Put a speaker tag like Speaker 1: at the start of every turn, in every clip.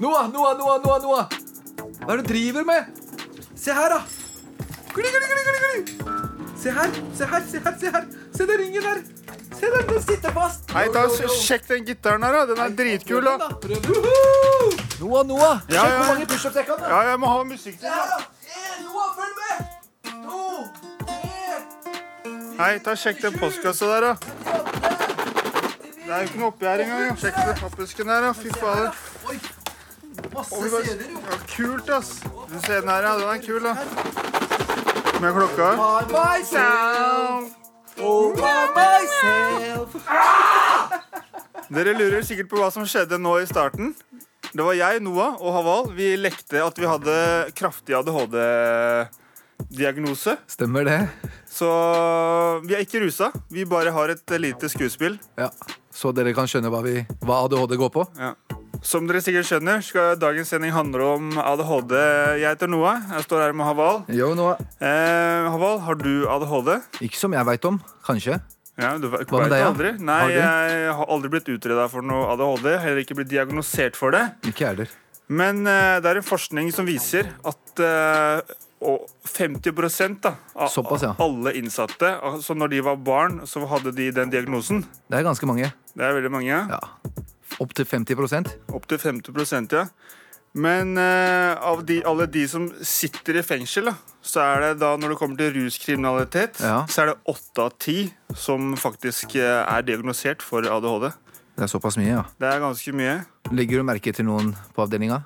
Speaker 1: Noah, Noah, Noah, Noah, Noah. Hva er det du driver med? Se her, da. Gli, gli, gli, gli, gli. Se her, se her, se her. Se her Se den ringen der. Se den, den sitter fast.
Speaker 2: Hei, ta,
Speaker 1: Jo, jo, jo.
Speaker 2: sjekk den gitaren her, da. Den er dritkul,
Speaker 1: Prøv den,
Speaker 2: da.
Speaker 1: Prøv den. Woohoo! Noah, Noah.
Speaker 2: Ja,
Speaker 1: Sjekk
Speaker 2: ja.
Speaker 1: hvor mange pushups jeg kan. da.
Speaker 2: Ja, jeg må ha musikk til.
Speaker 1: Se her,
Speaker 2: da.
Speaker 1: da. En, Noah, følg med. To, tre,
Speaker 2: Hei, ta sjekk den postkassa der, da. Det er jo ikke noe oppi her engang. ja. Sjekk den pappesken der, da. Fy fader.
Speaker 1: Oi. Masse
Speaker 2: Oi, hva-
Speaker 1: sener, jo.
Speaker 2: Ja, kult, ass. Du ser den her, ja. Den er kul, da. Med klokka.
Speaker 1: By myself. Oh, by myself.
Speaker 2: Dere lurer sikkert på hva som skjedde nå i starten. Det var jeg, Noah og Haval. Vi lekte at vi hadde kraftig ADHD-diagnose.
Speaker 1: Stemmer det.
Speaker 2: Så vi er ikke rusa. Vi bare har et lite skuespill.
Speaker 1: Ja. Så dere kan skjønne hva, vi, hva ADHD går på.
Speaker 2: Ja. Som dere sikkert skjønner, skal dagens sending handle om ADHD. Jeg heter Noah. Jeg står her med Haval.
Speaker 1: Jo, Noah.
Speaker 2: Eh, Haval, har du ADHD?
Speaker 1: Ikke som jeg veit om. Kanskje.
Speaker 2: Ja, du vet
Speaker 1: Hva med deg, ja?
Speaker 2: aldri. Nei,
Speaker 1: Har du?
Speaker 2: jeg har aldri blitt utreda for noe ADHD. Heller ikke blitt diagnosert for det.
Speaker 1: Ikke jeg heller.
Speaker 2: Men eh, det er en forskning som viser at eh, og 50 da, av
Speaker 1: Såpass, ja.
Speaker 2: alle innsatte altså når de var barn, så hadde de den diagnosen.
Speaker 1: Det er ganske mange.
Speaker 2: Det er veldig mange. Ja.
Speaker 1: Ja. Opptil 50
Speaker 2: Opptil 50 ja. Men eh, av de, alle de som sitter i fengsel, da, så er det da når det kommer til ruskriminalitet,
Speaker 1: Ja.
Speaker 2: så er det åtte av ti som faktisk eh, er diagnosert for ADHD.
Speaker 1: Det er såpass mye, ja.
Speaker 2: Det er ganske mye.
Speaker 1: Legger du merke til noen på avdelinga?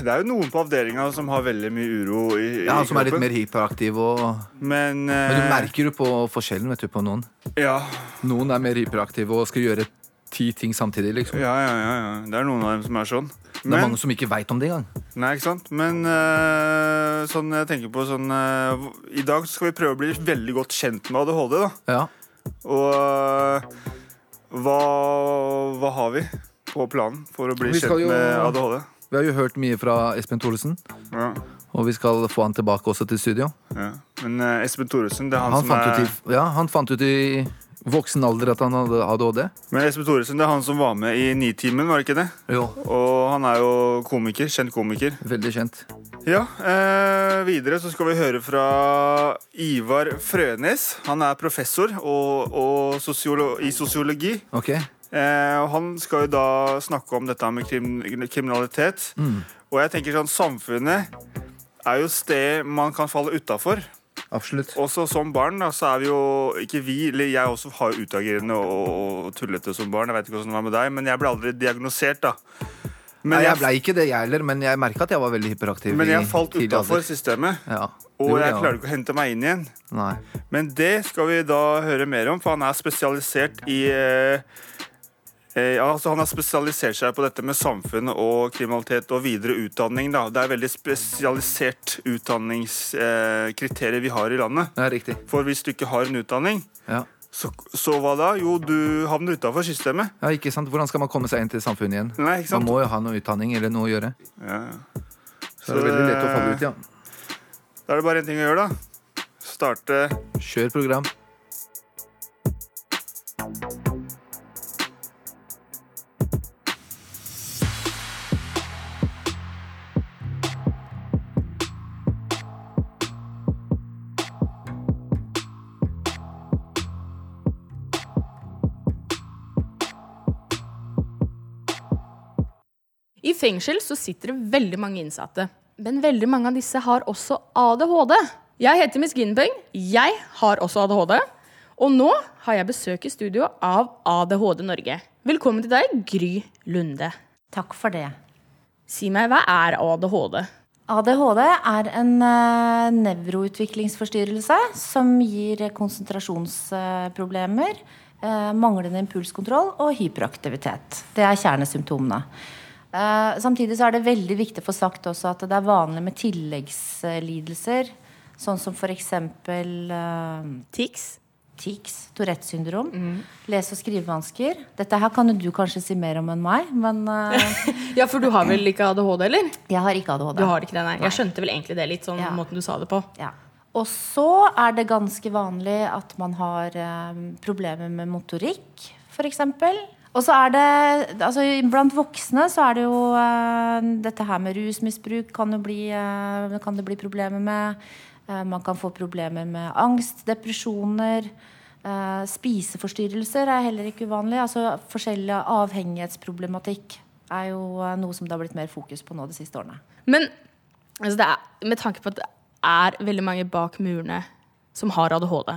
Speaker 2: Det er jo noen på avdelinga som har veldig mye uro i, i
Speaker 1: Ja, Som er litt
Speaker 2: kroppen.
Speaker 1: mer hyperaktiv og
Speaker 2: Men,
Speaker 1: Men du
Speaker 2: eh,
Speaker 1: merker jo på forskjellen vet du, på noen.
Speaker 2: Ja,
Speaker 1: Noen er mer hyperaktive og skal gjøre ti ting samtidig, liksom.
Speaker 2: Ja, ja, ja, ja. Det er noen av dem som er sånn.
Speaker 1: Det er
Speaker 2: Men,
Speaker 1: mange som ikke veit om det engang.
Speaker 2: nei, ikke sant? Men øh, sånn jeg tenker på sånn øh, hvor- I dag skal vi prøve å bli veldig godt kjent med ADHD, da.
Speaker 1: Ja.
Speaker 2: Og øh, hva, hva har vi på planen for å bli
Speaker 1: Vi
Speaker 2: kjent
Speaker 1: skal jo-
Speaker 2: med ADHD?
Speaker 1: Vi har jo hørt mye fra Espen Thoresen,
Speaker 2: Ja,
Speaker 1: og vi skal få han tilbake også til studio.
Speaker 2: ja. Men øh, Espen Thoresen, det er han,
Speaker 1: Han
Speaker 2: som
Speaker 1: fant,
Speaker 2: er
Speaker 1: ut i, ja, han fant ut i voksen alder at han hadde ADHD.
Speaker 2: Men Espen Thoresen, det er han som var med i Nitimen, var det ikke det?
Speaker 1: Jo.
Speaker 2: Og han er jo komiker. Kjent komiker.
Speaker 1: Veldig kjent.
Speaker 2: Ja, eh, Videre så skal vi høre fra Ivar Frønes. Han er professor og, og sosiolo i sosiologi.
Speaker 1: Ok.
Speaker 2: Eh, og han skal jo da snakke om dette med krim kriminalitet.
Speaker 1: Mm.
Speaker 2: Og jeg tenker sånn, samfunnet er jo sted man kan falle utafor.
Speaker 1: Absolutt.
Speaker 2: Også som barn da, så er vi jo ikke vi, eller jeg også har jo utagerende og, og tullete som barn. Jeg vet ikke hvordan det var med deg, men jeg ble aldri diagnosert, da. Men
Speaker 1: Nei, jeg
Speaker 2: jeg,
Speaker 1: blei ikke det, jeg heller, men jeg merka at jeg var veldig hyperaktiv.
Speaker 2: men
Speaker 1: i
Speaker 2: jeg falt
Speaker 1: tidlig alder.
Speaker 2: utafor systemet.
Speaker 1: Ja.
Speaker 2: Og jeg
Speaker 1: klarer
Speaker 2: klarer ikke å hente meg inn igjen.
Speaker 1: Nei.
Speaker 2: Men det skal vi da høre mer om, for han er spesialisert i eh, eh, Altså Han har spesialisert seg på dette med samfunn og kriminalitet og videre utdanning. da. Det er veldig spesialisert utdanningskriterier eh, kriterier vi har i landet.
Speaker 1: Ja, riktig.
Speaker 2: For hvis du ikke har en utdanning,
Speaker 1: Ja.
Speaker 2: så, så hva da? Jo, du havner utafor systemet.
Speaker 1: ja, ikke sant? Hvordan skal man komme seg inn til samfunnet igjen?
Speaker 2: Nei, ikke
Speaker 1: Man
Speaker 2: sant?
Speaker 1: må jo ha noe utdanning eller noe å gjøre.
Speaker 2: Ja.
Speaker 1: Så, det er veldig lett å falle ut, ja.
Speaker 2: Da er det bare én ting å gjøre, da. Starte
Speaker 1: Kjør program.
Speaker 3: I fengsel så sitter det veldig mange innsatte. Men veldig mange av disse har også ADHD. Jeg heter Miss Ginbeng. Jeg har også ADHD. Og nå har jeg besøk i studio av ADHD Norge. Velkommen til deg, Gry Lunde.
Speaker 4: Takk for det.
Speaker 3: Si meg, hva er ADHD?
Speaker 4: ADHD er en eh, nevroutviklingsforstyrrelse som gir konsentrasjonsproblemer, eh, manglende impulskontroll og hyperaktivitet. Det er kjernesymptomene. Eh, samtidig så er det veldig viktig å få sagt også at det er vanlig med tilleggslidelser, sånn som f.eks. Eh,
Speaker 3: Tics?
Speaker 4: tics, Tourettes syndrom, lese- og skrivevansker. Dette her kan jo du kanskje si mer om enn meg, men eh,
Speaker 3: Ja, for du har vel ikke ADHD, eller?
Speaker 4: jeg har ikke ADHD.
Speaker 3: Du har ikke det, nei. Jeg skjønte vel egentlig det litt, sånn
Speaker 4: Ja.
Speaker 3: måten du sa det på.
Speaker 4: Ja. Og så er det ganske vanlig at man har eh, problemer med motorikk, f.eks. Og så er det, altså Blant voksne så er det jo eh, dette her med rusmisbruk kan, jo bli, eh, kan det bli problemer med. Eh, man kan få problemer med angst, depresjoner. eh, spiseforstyrrelser er heller ikke uvanlig. altså Forskjellig avhengighetsproblematikk er jo eh, noe som det har blitt mer fokus på nå de siste årene.
Speaker 3: Men altså det er, med tanke på at det er veldig mange bak murene som har ADHD,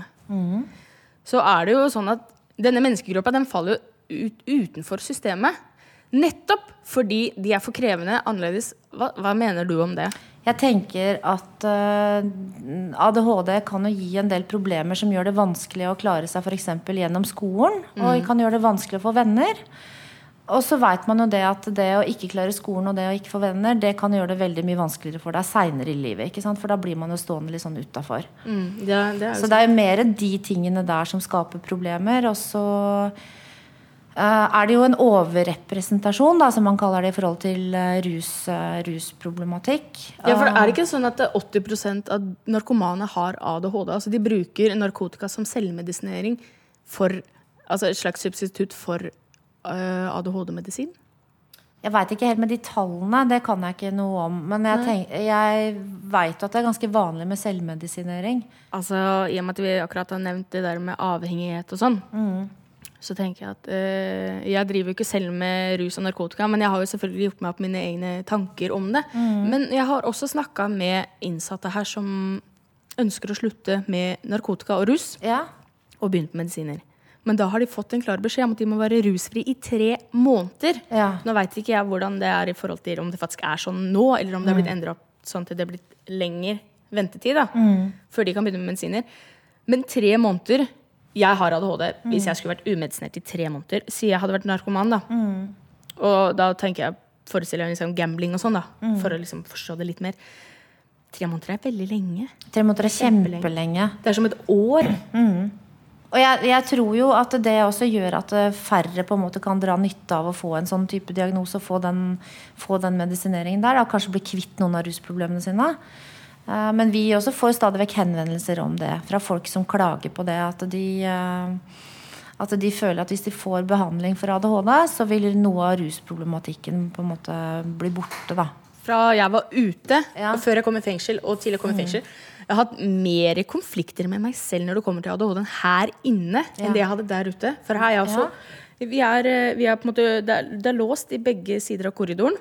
Speaker 3: så er det jo sånn at denne menneskegruppa den faller jo ut, utenfor systemet. Nettopp fordi de er for krevende, annerledes. Hva, hva mener du om det?
Speaker 4: Jeg tenker at eh, ADHD kan jo gi en del problemer som gjør det vanskelig å klare seg f.eks. gjennom skolen. Og kan gjøre det vanskelig å få venner. Og så veit man jo det at det å ikke klare skolen og det å ikke få venner, det kan gjøre det veldig mye vanskeligere for deg seinere i livet. ikke sant? For da blir man jo stående litt sånn utafor.
Speaker 3: det,
Speaker 4: Så Mm, det er jo mer de tingene der som skaper problemer. Og så eh, er det jo en overrepresentasjon, da, som man kaller det, i forhold til eh, rus, eh, rusproblematikk.
Speaker 3: ja, for er det ikke sånn at eh, 80 av narkomane har ADHD? Altså De bruker narkotika som selvmedisinering for Altså et slags substitutt for eh, ADHD-medisin?
Speaker 4: Jeg veit ikke helt med de tallene, det kan jeg ikke noe om. Men jeg, tenk, jeg veit at det er ganske vanlig med selvmedisinering.
Speaker 3: Altså, I og med at vi akkurat har nevnt det der med avhengighet og sånn, så tenker jeg at eh, jeg driver jo ikke selv med rus og narkotika, men jeg har jo selvfølgelig gjort meg opp mine egne tanker om det. Men jeg har også snakka med innsatte her som ønsker å slutte med narkotika og rus,
Speaker 4: Ja.
Speaker 3: og begynt med medisiner. Men da har de fått en klar beskjed om at de må være rusfri i tre måneder.
Speaker 4: Ja.
Speaker 3: Nå veit ikke jeg hvordan det er i forhold til om det faktisk er sånn nå, eller om det har blitt endra opp sånn til det er blitt lenger ventetid da, før de kan begynne med medisiner. Men tre måneder Jeg har ADHD. Hvis jeg skulle vært umedisinert i tre måneder, si jeg hadde vært narkoman, da. Og da tenker jeg forestiller jeg meg liksom gambling og sånn, da, for å liksom forstå det litt mer. Tre måneder er veldig lenge.
Speaker 4: Tre måneder er kjempelenge.
Speaker 3: Det er som et år.
Speaker 4: Og jeg, jeg tror jo at det også gjør at eh, færre på en måte kan dra nytte av å få en sånn type diagnose og få den, få den medisineringen der. Da. Kanskje bli kvitt noen av rusproblemene sine. Eh, Men vi også får stadig vekk henvendelser om det fra folk som klager på det. At de, eh, at de føler at hvis de får behandling for ADHD, så vil noe av rusproblematikken på en måte bli borte. da.
Speaker 3: fra jeg var ute,
Speaker 4: Ja.
Speaker 3: og før jeg kom i fengsel, og til jeg kom i fengsel. Jeg har hatt mer konflikter med meg selv når det kommer til ADHD enn her inne, enn det jeg hadde der ute. For her er jeg også vi er, eh, vi er på en måte, det, er, det er låst i begge sider av korridoren.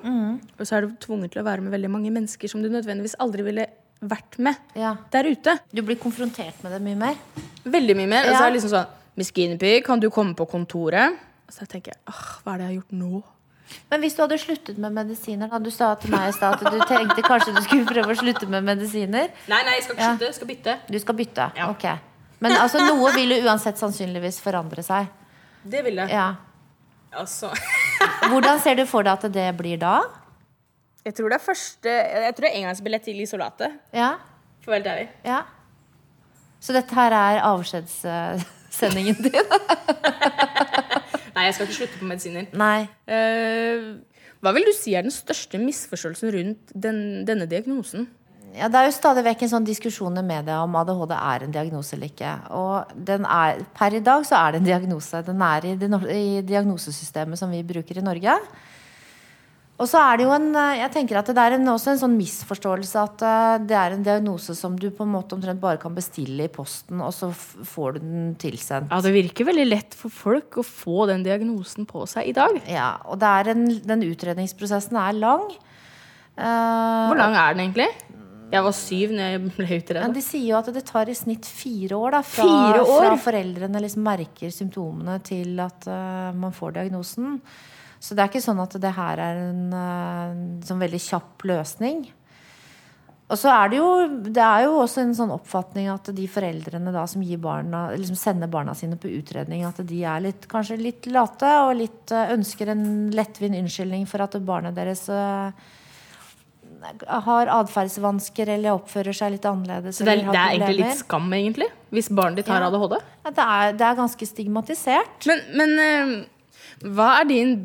Speaker 3: Og så er du tvunget til å være med veldig mange mennesker som du nødvendigvis aldri ville vært med
Speaker 4: Ja.
Speaker 3: der ute.
Speaker 4: Du blir konfrontert med det mye mer.
Speaker 3: Veldig mye mer. Og så
Speaker 4: Ja.
Speaker 3: er det liksom sånn Miss Guinevere, kan du komme på kontoret? Og så tenker jeg åh, hva er det jeg har gjort nå?
Speaker 4: Men hvis du hadde sluttet med medisiner da, Du sa til meg i stad at du tenkte kanskje du skulle prøve å slutte med medisiner.
Speaker 3: Nei, nei, jeg skal ikke
Speaker 4: Ja.
Speaker 3: slutte. Jeg skal bytte.
Speaker 4: Du skal bytte?
Speaker 3: Ja.
Speaker 4: Ok. Men altså, noe vil jo uansett sannsynligvis forandre seg.
Speaker 3: Det vil jeg.
Speaker 4: Ja.
Speaker 3: Altså.
Speaker 4: Hvordan ser du for deg at det blir da?
Speaker 3: Jeg tror det er første Jeg tror det er engangsbillett til isolatet.
Speaker 4: Ja?
Speaker 3: For å være helt ærlig.
Speaker 4: ja. Så dette her er avskjedssendingen din?
Speaker 3: Nei, jeg skal ikke slutte på medisiner.
Speaker 4: Nei.
Speaker 3: Eh, hva vil du si er den største misforståelsen rundt den, denne diagnosen?
Speaker 4: Ja, det er jo stadig vekk en sånn diskusjon i media om ADHD er en diagnose eller ikke. Og den er, per i dag så er det en diagnose. Den er i, det, nor- i diagnosesystemet som vi bruker i Norge. Og så er det jo en eh, Jeg tenker at det er en, også en sånn misforståelse at eh, det er en diagnose som du på en måte omtrent bare kan bestille i posten, og så f- får du den tilsendt.
Speaker 3: Ja, Det virker veldig lett for folk å få den diagnosen på seg i dag.
Speaker 4: Ja, og det er en, den utredningsprosessen er lang. Eh,
Speaker 3: Hvor lang er den egentlig? Jeg var syv når jeg ble
Speaker 4: Men
Speaker 3: utredet.
Speaker 4: de sier jo at det tar i snitt fire år, da, fra,
Speaker 3: Fire år?
Speaker 4: fra foreldrene liksom merker symptomene til at eh, man får diagnosen. Så det er ikke sånn at det her er en eh, sånn veldig kjapp løsning. Og så er det jo, det er jo også en sånn oppfatning at de foreldrene da som gir barna, liksom sender barna sine på utredning, at de er litt, kanskje litt late og litt, eh, ønsker en lettvint unnskyldning for at barnet deres eh, har atferdsvansker eller oppfører seg litt annerledes.
Speaker 3: Så det er,
Speaker 4: eller har
Speaker 3: det er egentlig
Speaker 4: problemer.
Speaker 3: litt skam, egentlig, hvis barnet ditt har
Speaker 4: Ja.
Speaker 3: ADHD.
Speaker 4: Ja, det, er, det er ganske stigmatisert.
Speaker 3: Men, men eh, hva er din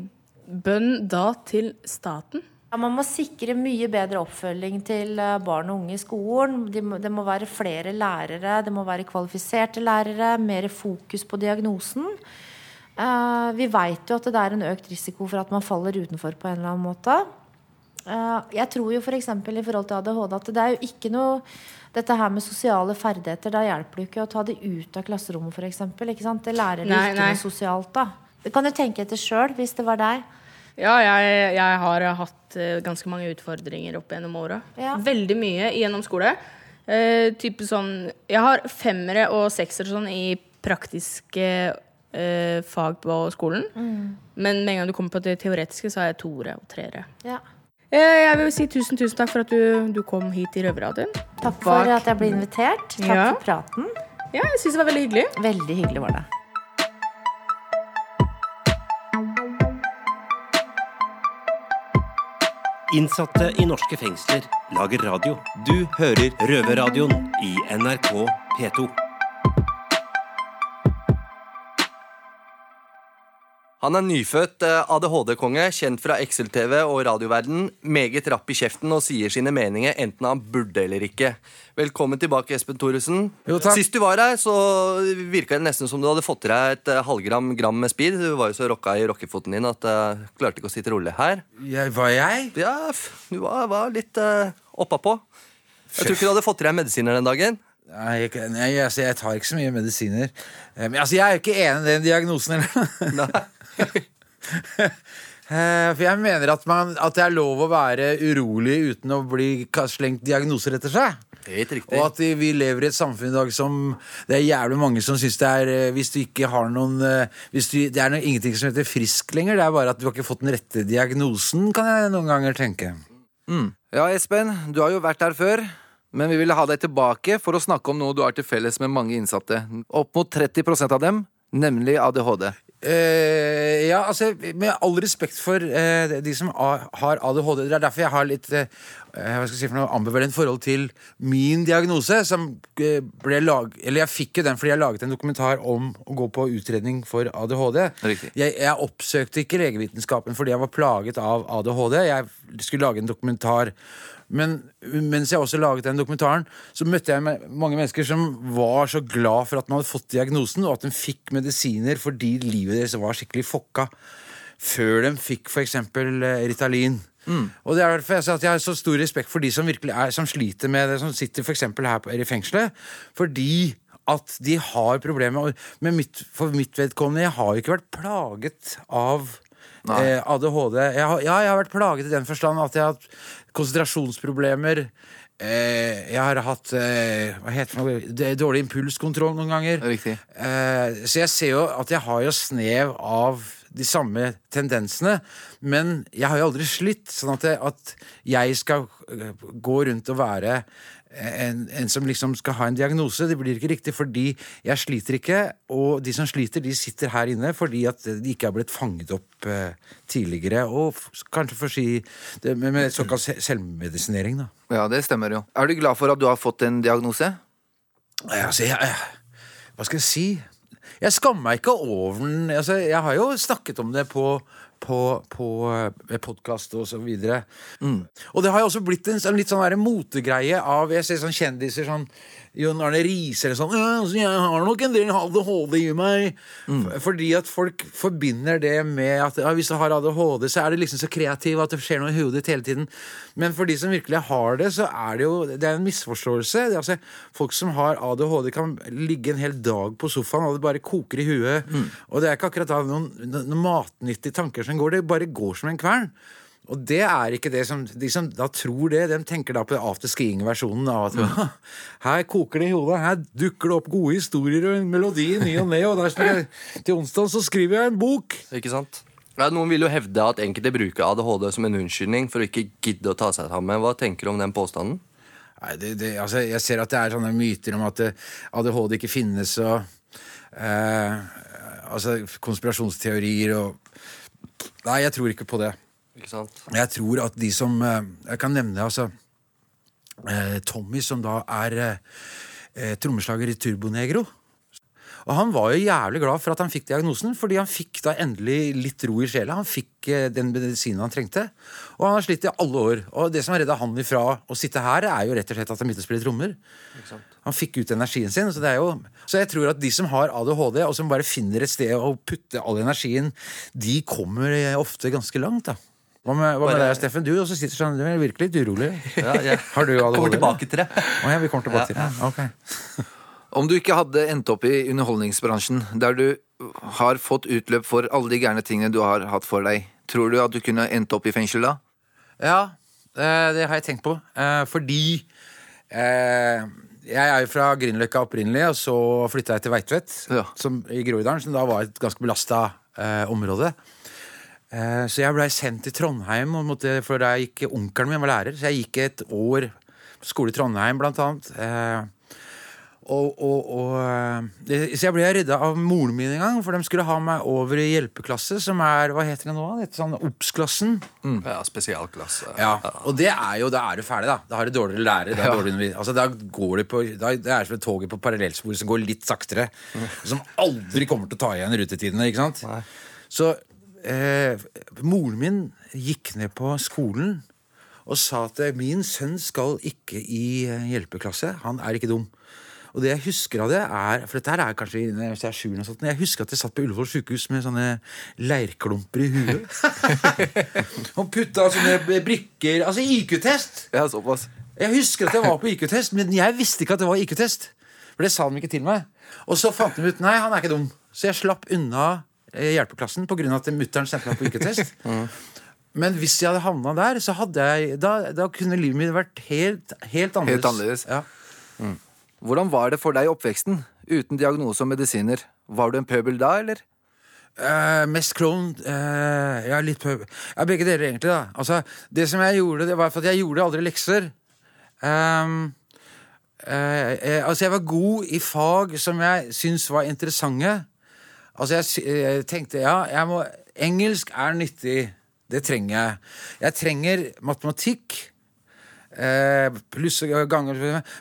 Speaker 3: bønn da til staten?
Speaker 4: Ja, man må sikre mye bedre oppfølging til eh, barn og unge i skolen. De må, det må være flere lærere, det må være kvalifiserte lærere, mer fokus på diagnosen. Eh, vi veit jo at det er en økt risiko for at man faller utenfor på en eller annen måte. Eh, jeg tror jo f.eks. For i forhold til ADHD at det er jo ikke noe Dette her med sosiale ferdigheter, da hjelper det jo ikke å ta det ut av klasserommet, f.eks. Det lærer de
Speaker 3: Nei,
Speaker 4: ikke
Speaker 3: nei.
Speaker 4: noe sosialt, da. Det kan du tenke etter sjøl, hvis det var deg.
Speaker 3: Ja, jeg, jeg har hatt eh, ganske mange utfordringer opp gjennom åra.
Speaker 4: Ja.
Speaker 3: Veldig mye gjennom skole. Eh, type sånn Jeg har femmere og seksere sånn i praktiske eh, fag på skolen. Men med en gang du kommer på det teoretiske, så er jeg toere og treere.
Speaker 4: Ja.
Speaker 3: Eh, jeg vil si tusen, tusen takk for at du, du kom hit i Røverradioen.
Speaker 4: Takk
Speaker 3: Bak-
Speaker 4: for at jeg ble invitert. Takk
Speaker 3: Ja.
Speaker 4: for praten.
Speaker 3: Ja, jeg syns det var veldig hyggelig.
Speaker 4: Veldig hyggelig var det.
Speaker 5: Innsatte i norske fengsler lager radio. Du hører Røverradioen i NRK P2.
Speaker 6: Han er nyfødt eh, ADHD-konge, kjent fra Excel-TV og radioverden, meget rapp i kjeften og sier sine meninger enten han burde eller ikke. Velkommen tilbake, Espen Thoresen.
Speaker 7: Jo, takk.
Speaker 6: Sist du var her, så virka det nesten som du hadde fått til deg et eh, halvgram gram med speed. Du var jo så rocka i rockefoten din at eh, klarte ikke å sitte rolig her.
Speaker 7: Jeg, var jeg?
Speaker 6: Ja, f- du var, var litt eh, oppa på. Jeg tror ikke du hadde fått til deg medisiner den dagen.
Speaker 7: Nei, jeg, nei, altså, jeg tar ikke så mye medisiner. Eh, Men altså, jeg er jo ikke enig i den diagnosen. Eller?
Speaker 6: Nei.
Speaker 7: Eh, For jeg mener at, man, at det er lov å være urolig uten å bli ka- slengt diagnoser etter seg.
Speaker 6: Helt riktig.
Speaker 7: Og at vi lever i et samfunn i dag som Det er jævlig mange som syns det er eh, Hvis du ikke har noen eh, hvis du, Det er noe, ingenting som heter frisk lenger. Det er bare at du har ikke fått den rette diagnosen, kan jeg noen ganger tenke.
Speaker 1: Ja, Espen, du har jo vært her før, men vi ville ha deg tilbake for å snakke om noe du har til felles med mange innsatte. Opp mot 30 av dem, nemlig ADHD.
Speaker 7: Eh, ja, altså, med all respekt for eh, de som a- har ADHD Det er derfor jeg har litt eh, hva skal jeg si for noe ambivalent forhold til min diagnose. Som eh, ble lag, eller jeg fikk jo den fordi jeg laget en dokumentar om å gå på utredning for ADHD.
Speaker 1: Riktig.
Speaker 7: Jeg, jeg oppsøkte ikke legevitenskapen fordi jeg var plaget av ADHD. Jeg skulle lage en dokumentar. Men mens jeg også laget den dokumentaren, så møtte jeg me- mange mennesker som var så glad for at man hadde fått diagnosen, og at de fikk medisiner fordi livet deres var skikkelig fokka. Før de fikk f.eks. Ritalin. Og det er derfor jeg sa at jeg har så stor respekt for de som virkelig er, som sliter med det, som sitter for eksempel her på- i fengselet. Fordi at de har problemer. Og med mitt, for mitt vedkommende, jeg har jo ikke vært plaget av eh, ADHD. Jeg har, ja, jeg har vært plaget i den forstand at jeg har hatt konsentrasjonsproblemer. Eh, jeg har hatt eh, hva heter det, Det- dårlig impulskontroll noen ganger.
Speaker 1: Riktig.
Speaker 7: Eh, så jeg ser jo at jeg har jo snev av de samme tendensene, men jeg har jo aldri slitt. Sånn at, det, at jeg skal eh, gå rundt og være en, en som liksom skal ha en diagnose. Det blir ikke riktig, fordi jeg sliter ikke. Og de som sliter, de sitter her inne fordi at de ikke har blitt fanget opp eh, tidligere. Og f kanskje for å si det med, med såkalt se- selvmedisinering, da.
Speaker 1: Ja, det stemmer jo. Er du glad for at du har fått en diagnose?
Speaker 7: Nei, Altså, jeg, jeg, hva skal jeg si? Jeg skammer meg ikke over den. Altså, jeg har jo snakket om det på, på, på eh, podkast og så videre. Og det har jo også blitt en, sånn litt sånn der motegreie av Jeg ser sånn kjendiser sånn Jon Arne Riise eller sånn «Ja, altså, Jeg har nok en del ADHD i meg. F- Fordi at folk forbinder det med at ja, hvis du har ADHD, så er du liksom så kreativ at det skjer noe i hodet ditt hele tiden. Men for de som virkelig har det, så er det jo Det er en misforståelse. Det er, altså, folk som har ADHD, kan ligge en hel dag på sofaen, og det bare koker i huet. Og det er ikke akkurat da noen, noen matnyttige tanker som går. Det bare går som en kvern. Og det er ikke det som De som da tror det, de tenker da på afterskiing-versjonen av at her koker det i hodet, her dukker det opp gode historier og en melodi i ny og ne, og der skal jeg, til onsdag så skriver jeg en bok.
Speaker 6: Ikke sant? Ja, noen vil jo hevde at enkelte bruker ADHD som en unnskyldning for å ikke gidde å ta seg sammen. Hva tenker du om den påstanden?
Speaker 7: Nei, det, det, altså, jeg ser at det er sånne myter om at eh, ADHD ikke finnes, og eh, Altså konspirasjonsteorier og Nei, jeg tror ikke på det.
Speaker 6: Ikke sant?
Speaker 7: Jeg tror at de som eh, Jeg kan nevne altså eh, Tommy, som da er eh, eh, trommeslager i Turbonegro. Og han var jo jævlig glad for at han fikk diagnosen, fordi han fikk da endelig litt ro i sjela. Han fikk eh, den medisinen han trengte. Og han har slitt i alle år. Og det som redda han ifra å sitte her, er jo rett og slett at han begynte å spille trommer. Han fikk ut energien sin. Så, det er jo, så jeg tror at de som har ADHD, og som bare finner et sted å putte all energien, de kommer eh, ofte ganske langt, da. Hva med, hva med
Speaker 6: Bare-
Speaker 7: deg, Steffen? Du også sitter sånn, du er virkelig litt urolig.
Speaker 6: Ja, jeg
Speaker 7: Har du ADHD?
Speaker 6: Kommer tilbake til det.
Speaker 7: Å ja, vi kommer tilbake til det. Ok.
Speaker 1: Om du ikke hadde endt opp i underholdningsbransjen, der du har fått utløp for alle de gærne tingene du har hatt for deg, tror du at du kunne endt opp i fengsel da?
Speaker 7: Ja, eh, det har jeg tenkt på. Eh, Fordi eh, jeg er jo fra Grünerløkka opprinnelig, og så flytta jeg til Veitvet
Speaker 1: Ja.
Speaker 7: som, i Groruddalen, som da var et ganske belasta eh, område. Eh, så jeg blei sendt til Trondheim, og måtte, for da jeg gikk, onkelen min var lærer, så jeg gikk et år på skole i Trondheim, blant annet. Eh, Og, og, og, eh, det, så jeg ble redda av moren min en gang, for de skulle ha meg over i hjelpeklasse, som er Hva heter det nå? Det heter sånn Obs-klassen.
Speaker 6: Ja, spesialklasse.
Speaker 7: Ja, og det er jo, da er du ferdig, da. Da har du dårligere lærere. Da, er dårligere, undervis- altså, da går du på da, Det er som et toget på parallellspor som går litt saktere. Som aldri kommer til å ta igjen rutetidene, ikke sant? Så eh, moren min gikk ned på skolen og sa at eh, min sønn skal ikke i eh, hjelpeklasse. Han er ikke dum. Og det jeg husker av det er For dette her er kanskje i- hvis jeg er sju eller noe sånt. men Jeg husker at jeg satt på Ullevål sykehus med sånne leirklumper i huet. Han putta sånne b- brikker Altså IQ-test!
Speaker 1: Ja, såpass.
Speaker 7: Jeg husker at jeg var på IQ-test, men jeg visste ikke at det var IQ-test. For det sa de ikke til meg. Og så fant de ut Nei, han er ikke dum. Så jeg slapp unna eh, hjelpeklassen pga. at mutter'n sendte meg på IQ-test. Men hvis jeg hadde havna der, så hadde jeg da, da kunne livet mitt vært helt, helt annerledes.
Speaker 1: Helt annerledes.
Speaker 7: Ja.
Speaker 1: Hvordan var det for deg i oppveksten, uten diagnose og medisiner? Var du en pøbel da, eller?
Speaker 7: Eh, mest klovn. eh, ja, litt pub. Ja, begge deler, egentlig. da altså, Det som jeg gjorde, det var for at jeg gjorde aldri lekser. Ehm, eh, eh, altså, jeg var god i fag som jeg syntes var interessante. Altså, jeg, sy- eh, tenkte ja, jeg må Engelsk er nyttig. Det trenger jeg. Jeg trenger matematikk. Eh, pluss og ganger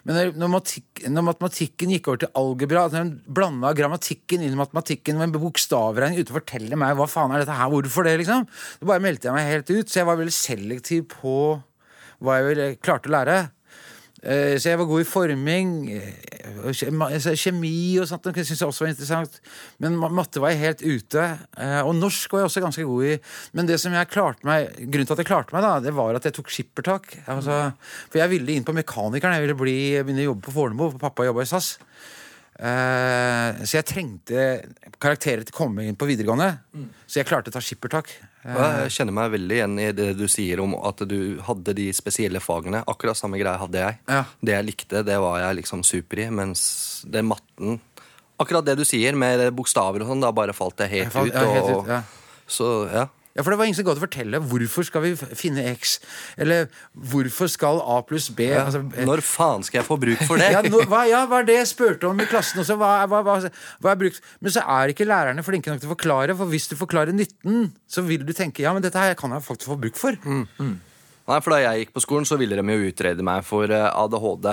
Speaker 7: Men når, når, matikk, når matematikken gikk over til algebra, at hun blanda grammatikken inn i matematikken med bokstavregning uten å fortelle meg hva faen er dette her, hvorfor det, liksom, da bare meldte jeg meg helt ut. Så jeg var veldig selektiv på hva jeg ville, klarte å lære. Eh, Så jeg var god i forming. eh, og kjema- altså Kjemi og sånt det syntes jeg også var interessant. Men ma- matte var jeg helt ute. eh, Og norsk var jeg også ganske god i. Men det som jeg klarte meg, grunnen til at jeg klarte meg, da, det var at jeg tok skippertak. Altså, for jeg ville inn på Mekanikeren. Jeg ville bli, begynne å jobbe på Fornebu, for pappa jobba i SAS. Eh, så jeg trengte karakterer til å komme inn på videregående.
Speaker 6: Mm.
Speaker 7: Så jeg klarte å ta skippertak. Eh,
Speaker 6: Ja, Jeg kjenner meg veldig igjen i det du sier om at du hadde de spesielle fagene. Akkurat samme greie hadde jeg.
Speaker 7: Ja.
Speaker 6: Det jeg likte, det var jeg liksom super i, mens det matten Akkurat det du sier med bokstaver og sånn, da bare falt jeg helt
Speaker 7: Jeg
Speaker 6: ut.
Speaker 7: falt- ja, helt
Speaker 6: og,
Speaker 7: ut, ja.
Speaker 6: Så ja.
Speaker 7: Ja, for det var ingen som gadd å fortelle hvorfor skal vi f- finne X, eller hvorfor skal A pluss B altså, eh,
Speaker 6: Når faen skal jeg få bruk for det?
Speaker 7: ja, nå- hva, ja, hva er det jeg spurte om i klassen også? Hva, er- hva, hva, hva er brukt? Men så er ikke lærerne flinke nok til å forklare, for hvis du forklarer nytten, så vil du tenke ja, men dette her kan jeg faktisk få bruk for.
Speaker 6: Nei, for Da jeg gikk på skolen, så ville de jo utrede meg for eh, ADHD.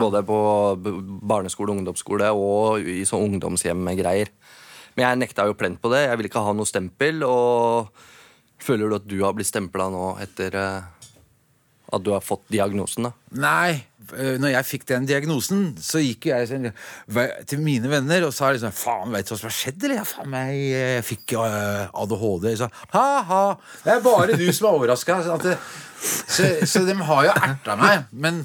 Speaker 6: Både på b- barneskole, ungdomsskole og i sånn ungdomshjem med greier. Men jeg nekta jo plent på det. Jeg ville ikke ha noe stempel. Og føler du at du har blitt stempla nå etter eh, at du har fått diagnosen? da?
Speaker 7: Nei, øh, når jeg fikk den diagnosen, så gikk jo jeg sånn, ve- til mine venner og sa liksom Faen, veit du hva som har skjedd, eller? Jeg, faen meg, jeg fikk øh, ADHD. Så, Ha-ha! Det er bare du som er overraska. Så, så, så de har jo erta meg. Men,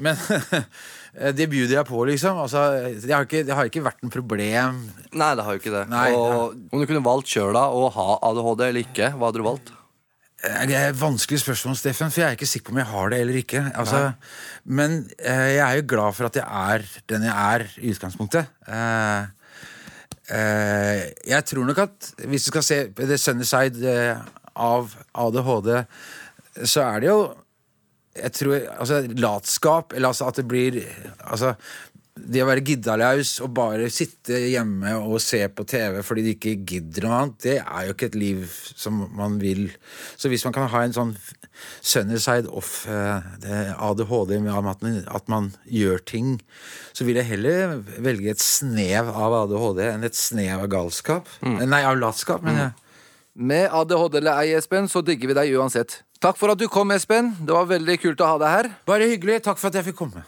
Speaker 7: men eh, det bjuder jeg på, liksom. Altså, det, har ikke, det har ikke vært noe problem.
Speaker 6: Nei, det har jo ikke det.
Speaker 7: Nei,
Speaker 6: og Om du kunne valgt sjøl da å ha ADHD eller ikke, hva hadde du valgt?
Speaker 7: Eh, Det er et vanskelig spørsmål, Steffen, for jeg er ikke sikker på om jeg har det eller ikke. Altså, men eh, jeg er jo glad for at jeg er den jeg er i utgangspunktet. Eh, eh, jeg tror nok at hvis du skal se på The Sunny Side eh, av ADHD, så er det jo jeg tror, altså Latskap, eller altså at det blir altså, Det å være giddalaus og bare sitte hjemme og se på TV fordi du ikke gidder noe annet, det er jo ikke et liv som man vil. Så hvis man kan ha en sånn sunnyside off eh, det ADHD med at man, at man gjør ting, så vil jeg heller velge et snev av ADHD enn et snev av galskap. Nei, av latskap, men eh, jeg.
Speaker 1: Med ADHD eller ei, Espen, så digger vi deg uansett. Takk for at du kom, Espen. Det var veldig kult å ha deg her.
Speaker 7: Bare hyggelig. Takk for at jeg fikk komme.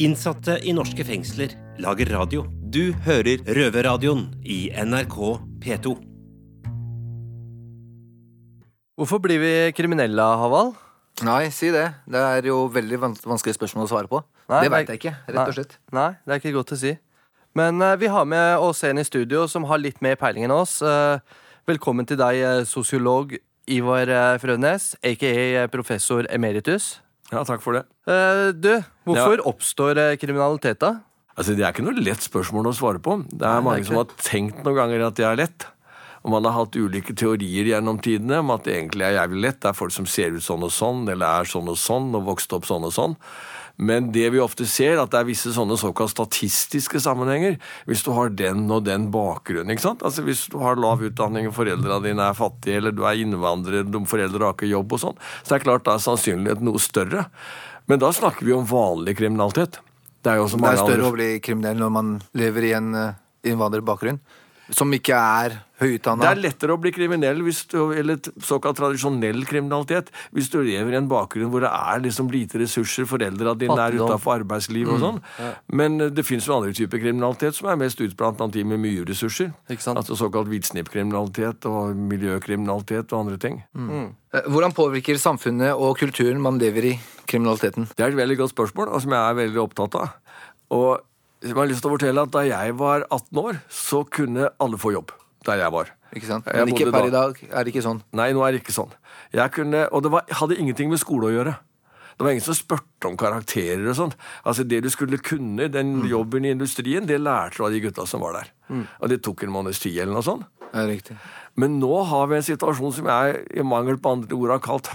Speaker 5: Innsatte i norske fengsler lager radio. Du hører Røverradioen i NRK P2.
Speaker 6: Hvorfor blir vi kriminelle, Haval?
Speaker 1: Nei, si det. Det er jo veldig vans- vanskelig spørsmål å svare på.
Speaker 6: Nei,
Speaker 1: det
Speaker 6: nei.
Speaker 1: veit jeg ikke, rett og slett.
Speaker 6: Nei, nei, det er ikke godt å si. Men eh, vi har med oss en i studio som har litt mer peiling enn oss. Eh, velkommen til deg, eh, sosiolog Ivar eh, Frødnes, aka eh, professor emeritus.
Speaker 8: Ja, takk for det.
Speaker 6: Eh, du, hvorfor oppstår eh, kriminalitet, da?
Speaker 8: Altså, Det er ikke noe lett spørsmål å svare på. Det er mange som har tenkt noen ganger at det er lett. Og man har hatt ulike teorier gjennom tidene om at det egentlig er jævlig lett. Det er folk som ser ut sånn og sånn, eller er sånn og sånn, og vokst opp sånn og sånn. Men det vi ofte ser, at det er visse sånne såkalt statistiske sammenhenger. Hvis du har den og den bakgrunnen, ikke sant. Altså hvis du har lav utdanning, og foreldra dine er fattige, eller du er innvandrer, de foreldre har ikke jobb og sånn, så det er klart da er sannsynligheten noe større. Men da snakker vi om vanlig kriminalitet. Det er jo også
Speaker 1: Det
Speaker 8: mange
Speaker 1: er større
Speaker 8: andre
Speaker 1: å bli kriminell når man lever i en eh, innvandrerbakgrunn. Som ikke er
Speaker 8: Det er
Speaker 1: høyutdanna.
Speaker 8: lettere å bli kriminell, hvis du, eller t- såkalt tradisjonell kriminalitet, hvis du lever i en bakgrunn hvor det er liksom lite ressurser, foreldra dine er
Speaker 6: Fattigdom.
Speaker 8: utafor arbeidslivet
Speaker 1: Mm.
Speaker 8: og sånn. Men eh, det fins jo andre typer kriminalitet som er mest utblant blant de med mye ressurser.
Speaker 6: Ikke sant?
Speaker 8: Altså såkalt hvitsnippkriminalitet og miljøkriminalitet og andre ting.
Speaker 1: Mm. Eh, Hvordan påvirker samfunnet og kulturen man lever i, kriminaliteten?
Speaker 8: Det er et veldig godt spørsmål, og som jeg er veldig opptatt av. Og jeg har lyst til å fortelle at da jeg var 18 år, så kunne alle få jobb der jeg var.
Speaker 1: Ikke sant?
Speaker 8: Jeg
Speaker 1: Men ikke
Speaker 8: bodde da-
Speaker 1: per i dag er det ikke sånn.
Speaker 8: Nei, nå er det ikke sånn. Jeg kunne, og det var, hadde ingenting med skole å gjøre. Det var ingen som spurte om karakterer og sånn. Altså Det du skulle kunne, den jobben i industrien, det lærte du av de gutta som var der. Og det tok en måneds tid eller noe sånt.
Speaker 1: Ja, riktig.
Speaker 8: Men nå har vi en situasjon som jeg i mangel på andre ord har kalt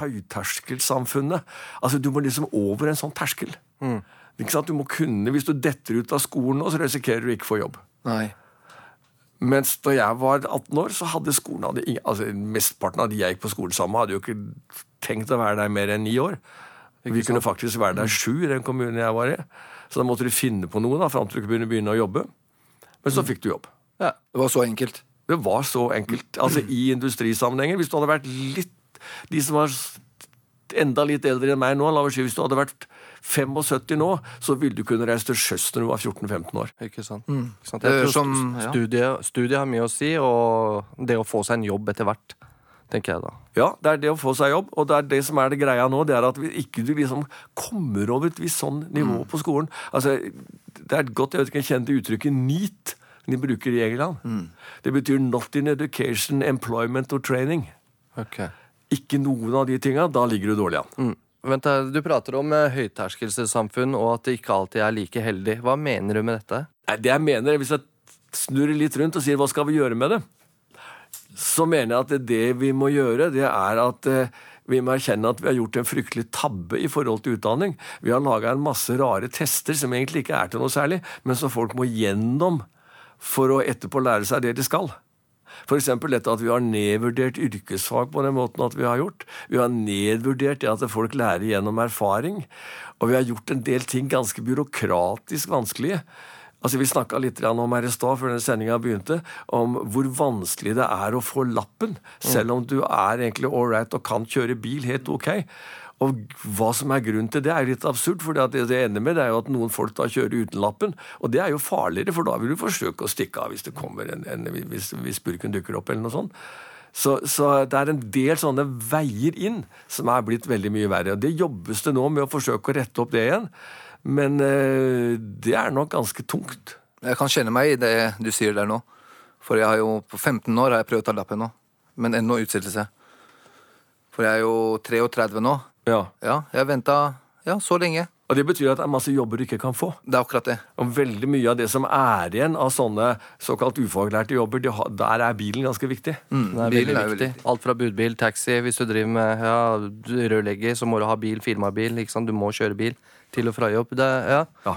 Speaker 8: høyterskelsamfunnet. Altså, du må liksom over en sånn terskel. Ikke sant? Du må kunne, Hvis du detter ut av skolen nå, så risikerer du ikke å få jobb.
Speaker 1: Nei.
Speaker 8: Mens da jeg var 18 år, så hadde skolen hadde ingen, altså Mesteparten av de jeg gikk på skolen sammen med, hadde jo ikke tenkt å være der mer enn ni år. Vi kunne faktisk være der sju i den kommunen jeg var i. Så da måtte du finne på noe da, fram til du kunne begynne å jobbe. Men så fikk du jobb.
Speaker 1: Det var så enkelt.
Speaker 8: Det var så enkelt. Altså I industrisammenhenger. Hvis du hadde vært litt De som var s- enda litt eldre enn meg nå, la oss si hvis du hadde vært 75 nå, så ville du kunne reise til sjøs når du var 14-15 år.
Speaker 6: Ikke sant? Ikke sant?
Speaker 1: Det
Speaker 6: Jeg
Speaker 1: er Mm.
Speaker 6: tror
Speaker 1: Eh, som-
Speaker 6: st-
Speaker 1: ja.
Speaker 6: studiet, studiet har mye å si, og det å få seg en jobb etter hvert, tenker jeg da.
Speaker 8: Ja, det er det å få seg jobb, og det er det som er det greia nå, det er at vi ikke du liksom kommer over et visst sånn nivå på skolen. Altså, det er et godt, jeg vet ikke, jeg kjenner det uttrykket NEAT, som de bruker i England. Det betyr Not in Education, Employment or Training. Ikke noen av de tinga, da ligger du dårlig an.
Speaker 6: Mm. Vent, da, du prater om eh, høyterskelsamfunn og at det ikke alltid er like heldig. Hva mener du med dette?
Speaker 8: Nei, det jeg mener, hvis jeg snurrer litt rundt og sier hva skal vi gjøre med det, så mener jeg at det vi må gjøre, det er at eh, vi må erkjenne at vi har gjort en fryktelig tabbe i forhold til utdanning. Vi har laga en masse rare tester som egentlig ikke er til noe særlig, men som folk må gjennom for å etterpå lære seg det de skal. F.eks. dette at vi har nedvurdert yrkesfag på den måten at vi har gjort. Vi har nedvurdert det at folk lærer gjennom erfaring. Og vi har gjort en del ting ganske byråkratisk vanskelige. Altså, Vi snakka litt grann om her i stad før sendinga begynte, om hvor vanskelig det er å få lappen, selv om du er egentlig ålreit og kan kjøre bil helt ok. Og hva som er grunnen til det, er litt absurd. For det det ender med, det er jo at noen folk da kjører uten lappen. Og det er jo farligere, for da vil du forsøke å stikke av hvis det kommer en, en hvis, hvis burken dukker opp, eller noe sånt. Så, så det er en del sånne veier inn som er blitt veldig mye verre. Og det jobbes det nå med å forsøke å rette opp det igjen. Men eh, det er nok ganske tungt.
Speaker 1: Jeg kan kjenne meg i det du sier der nå. For jeg har jo på 15 år har jeg prøvd å ta lappen nå, men ennå utsettelse. For jeg er jo 33 nå.
Speaker 8: Ja.
Speaker 1: Ja, jeg venta ja, så lenge.
Speaker 8: Og det betyr at det er masse jobber du ikke kan få.
Speaker 1: Det er akkurat det.
Speaker 8: Og veldig mye av det som er igjen av sånne såkalt ufaglærte jobber, det har, der er bilen ganske viktig.
Speaker 1: Mm. Bilen
Speaker 6: Bilen
Speaker 1: er jo veldig-
Speaker 6: Alt fra budbil, taxi, hvis du driver med ja, rørlegger, så må du ha bil, firmabil, ikke sant? du må kjøre bil til og fra jobb. Det, ja.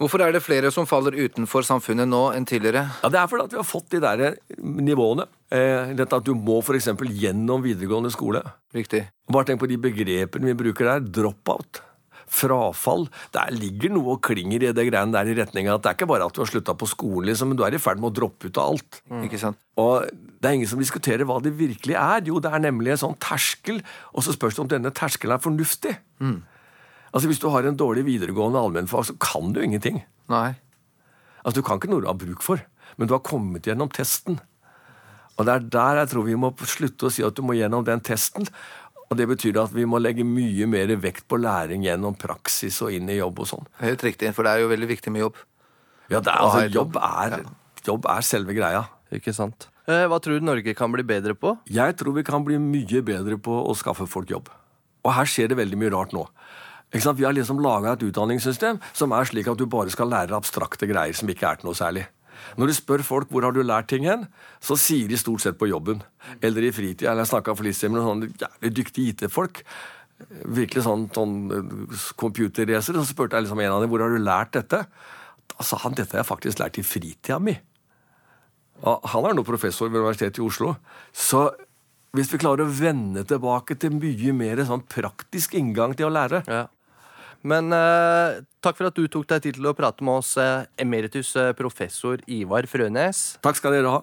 Speaker 1: Hvorfor er det flere som faller utenfor samfunnet nå enn tidligere?
Speaker 8: Ja, Det er fordi at vi har fått de der nivåene. Eh, dette at du må f.eks. gjennom videregående skole.
Speaker 1: Riktig.
Speaker 8: Bare tenk på de begrepene vi bruker der. Dropout. Frafall. Der ligger noe og klinger i det greiene der i retning av at det er ikke bare at du har slutta på skolen, liksom, men du er i ferd med å droppe ut av alt.
Speaker 1: Ikke sant?
Speaker 8: Og det er ingen som diskuterer hva det virkelig er. Jo, det er nemlig en sånn terskel, og så spørs det om denne terskelen er fornuftig.
Speaker 1: Mm.
Speaker 8: Altså, Hvis du har en dårlig videregående allmennfag, så kan du ingenting.
Speaker 1: Nei.
Speaker 8: Altså, Du kan ikke noe du har bruk for, men du har kommet gjennom testen. Og det er der jeg tror vi må slutte å si at du må gjennom den testen. Og det betyr at vi må legge mye mer vekt på læring gjennom praksis og inn i jobb og sånn.
Speaker 1: Helt riktig, for det er jo veldig viktig med jobb.
Speaker 8: Ja, det er,
Speaker 1: ha
Speaker 8: altså,
Speaker 1: et jobb.
Speaker 8: jobb er, jobb er selve greia.
Speaker 6: Ikke sant. Eh, hva tror du Norge kan bli bedre på?
Speaker 8: Jeg tror vi kan bli mye bedre på å skaffe folk jobb. Og her skjer det veldig mye rart nå. Ikke sant? Vi har liksom laga et utdanningssystem som er slik at du bare skal lære abstrakte greier som ikke er til noe særlig. Når du spør folk hvor har du lært ting hen, så sier de stort sett på jobben. Eller i fritida. Eller jeg snakka for litt siden med noen sånne jævlig dyktige IT-folk. Virkelig sånn, sånn eh, computerracere. Så spurte jeg liksom en av dem hvor har du lært dette. Da sa han dette har jeg faktisk lært i fritida mi. Ja, Han er nå professor ved Universitetet i Oslo. Så hvis vi klarer å vende tilbake til mye mer sånn praktisk inngang til å lære
Speaker 6: Ja. Men eh, takk for at du tok deg tid til å prate med oss, eh, emeritus eh, professor Ivar Frønes.
Speaker 8: Takk skal dere ha.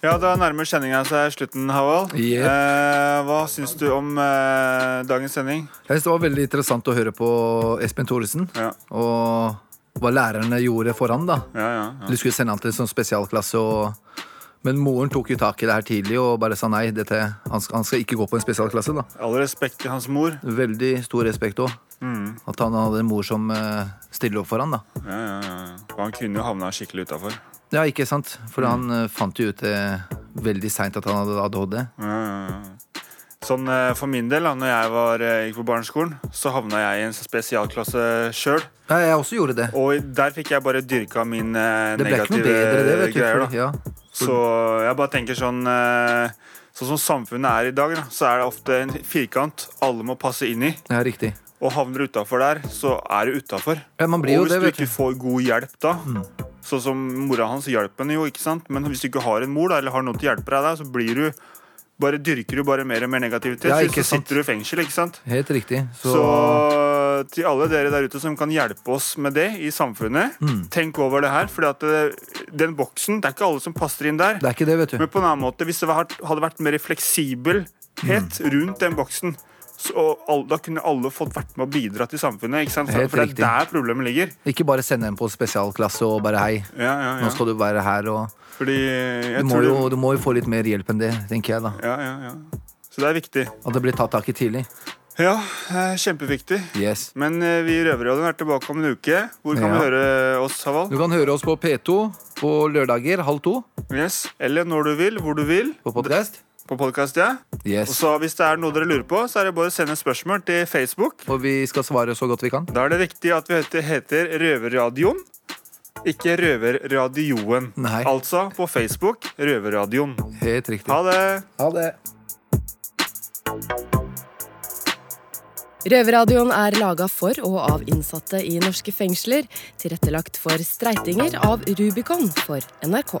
Speaker 2: Ja, Da nærmer sendinga seg slutten, Havald.
Speaker 1: Yep.
Speaker 2: Eh, hva syns du om eh, dagens sending?
Speaker 1: Jeg synes Det var veldig interessant å høre på Espen Thoresen
Speaker 2: Ja.
Speaker 1: og hva lærerne gjorde for ham. da.
Speaker 2: Ja, ja, ja.
Speaker 1: Du skulle sende han til en sånn spesialklasse, og... men moren tok jo tak i det her tidlig og bare sa nei, dette, han, skal, han skal ikke gå på en spesialklasse. da.
Speaker 2: All respekt til hans mor.
Speaker 1: Veldig stor respekt òg. At han hadde en mor som eh, stiller opp for ham. da.
Speaker 2: Ja, ja, ja. Og han kunne jo havna skikkelig utafor.
Speaker 1: Ja, ikke sant? For han eh, fant jo ut eh, veldig seint at han hadde ADHD.
Speaker 2: Ja, ja, ja. Sånn eh, For min del, da når jeg var, eh, gikk på barneskolen, så havna jeg i en spesialklasse sjøl.
Speaker 1: Ja, jeg også gjorde det.
Speaker 2: Og der fikk jeg bare dyrka min eh,
Speaker 1: Det ble ikke noe
Speaker 2: negative
Speaker 1: bedre, det. vet du.
Speaker 2: greier.
Speaker 1: for-
Speaker 2: da
Speaker 1: Ja.
Speaker 2: Så jeg bare tenker sånn eh, Sånn som samfunnet er i dag, da, så er det ofte en firkant alle må passe inn i.
Speaker 1: ja, riktig.
Speaker 2: Og havner du utafor der, så er du utafor.
Speaker 1: Ja, man blir jo
Speaker 2: og hvis
Speaker 1: det,
Speaker 2: du
Speaker 1: vet
Speaker 2: ikke
Speaker 1: du. Mm.
Speaker 2: får god hjelp da, sånn som mora hans hjalp henne jo, ikke sant? Men hvis du ikke har en mor da, eller har noen til å hjelpe deg da, så blir du bare dyrker du bare mer og mer negativitet.
Speaker 1: Ja,
Speaker 2: så-
Speaker 1: ikke
Speaker 2: så
Speaker 1: sant.
Speaker 2: sitter du i fengsel, ikke sant?
Speaker 1: Helt riktig. Så,
Speaker 2: Så... til alle dere der ute som kan hjelpe oss med det i samfunnet,
Speaker 1: Mm.
Speaker 2: tenk over det her. For den boksen, det er ikke alle som passer inn der.
Speaker 1: det er ikke det, vet du.
Speaker 2: Men på en annen måte, hvis det var- hadde vært mer fleksibelhet
Speaker 1: Mm.
Speaker 2: rundt den boksen, så, og all, da kunne alle fått vært med å bidra til samfunnet. Ikke sant?
Speaker 1: Helt
Speaker 2: For det
Speaker 1: riktig.
Speaker 2: er der problemet ligger.
Speaker 1: Ikke bare sende en på spesialklasse og bare hei,
Speaker 2: Ja, ja,
Speaker 1: nå
Speaker 2: ja.
Speaker 1: skal du være her og
Speaker 2: Fordi jeg
Speaker 1: Du må
Speaker 2: tror
Speaker 1: jo,
Speaker 2: det,
Speaker 1: du må jo få litt mer hjelp enn det, tenker jeg da.
Speaker 2: ja, ja, ja. Så det er viktig.
Speaker 1: At det blir tatt tak i tidlig.
Speaker 2: Ja, eh, kjempeviktig.
Speaker 1: Yes.
Speaker 2: Men eh, vi i Røverradioen er tilbake om en uke. Hvor kan
Speaker 1: Ja.
Speaker 2: vi høre oss, Haval?
Speaker 1: Du kan høre oss på P2 på lørdager halv to
Speaker 2: Yes. Eller når du vil, hvor du vil.
Speaker 1: på podkast.
Speaker 2: På podkast, ja. Og
Speaker 1: Yes.
Speaker 2: så hvis det er noe dere lurer på, så er det bare å sende spørsmål til Facebook.
Speaker 1: Og vi skal svare så godt vi kan.
Speaker 2: Da er det viktig at vi heter, heter Røverradioen, ikke Røverradioen.
Speaker 1: Nei.
Speaker 2: Altså på Facebook Røverradioen.
Speaker 1: Helt riktig.
Speaker 2: Ha det!
Speaker 1: Ha det.
Speaker 9: Røverradioen er laga for og av innsatte i norske fengsler. Tilrettelagt for streitinger av Rubicon for NRK.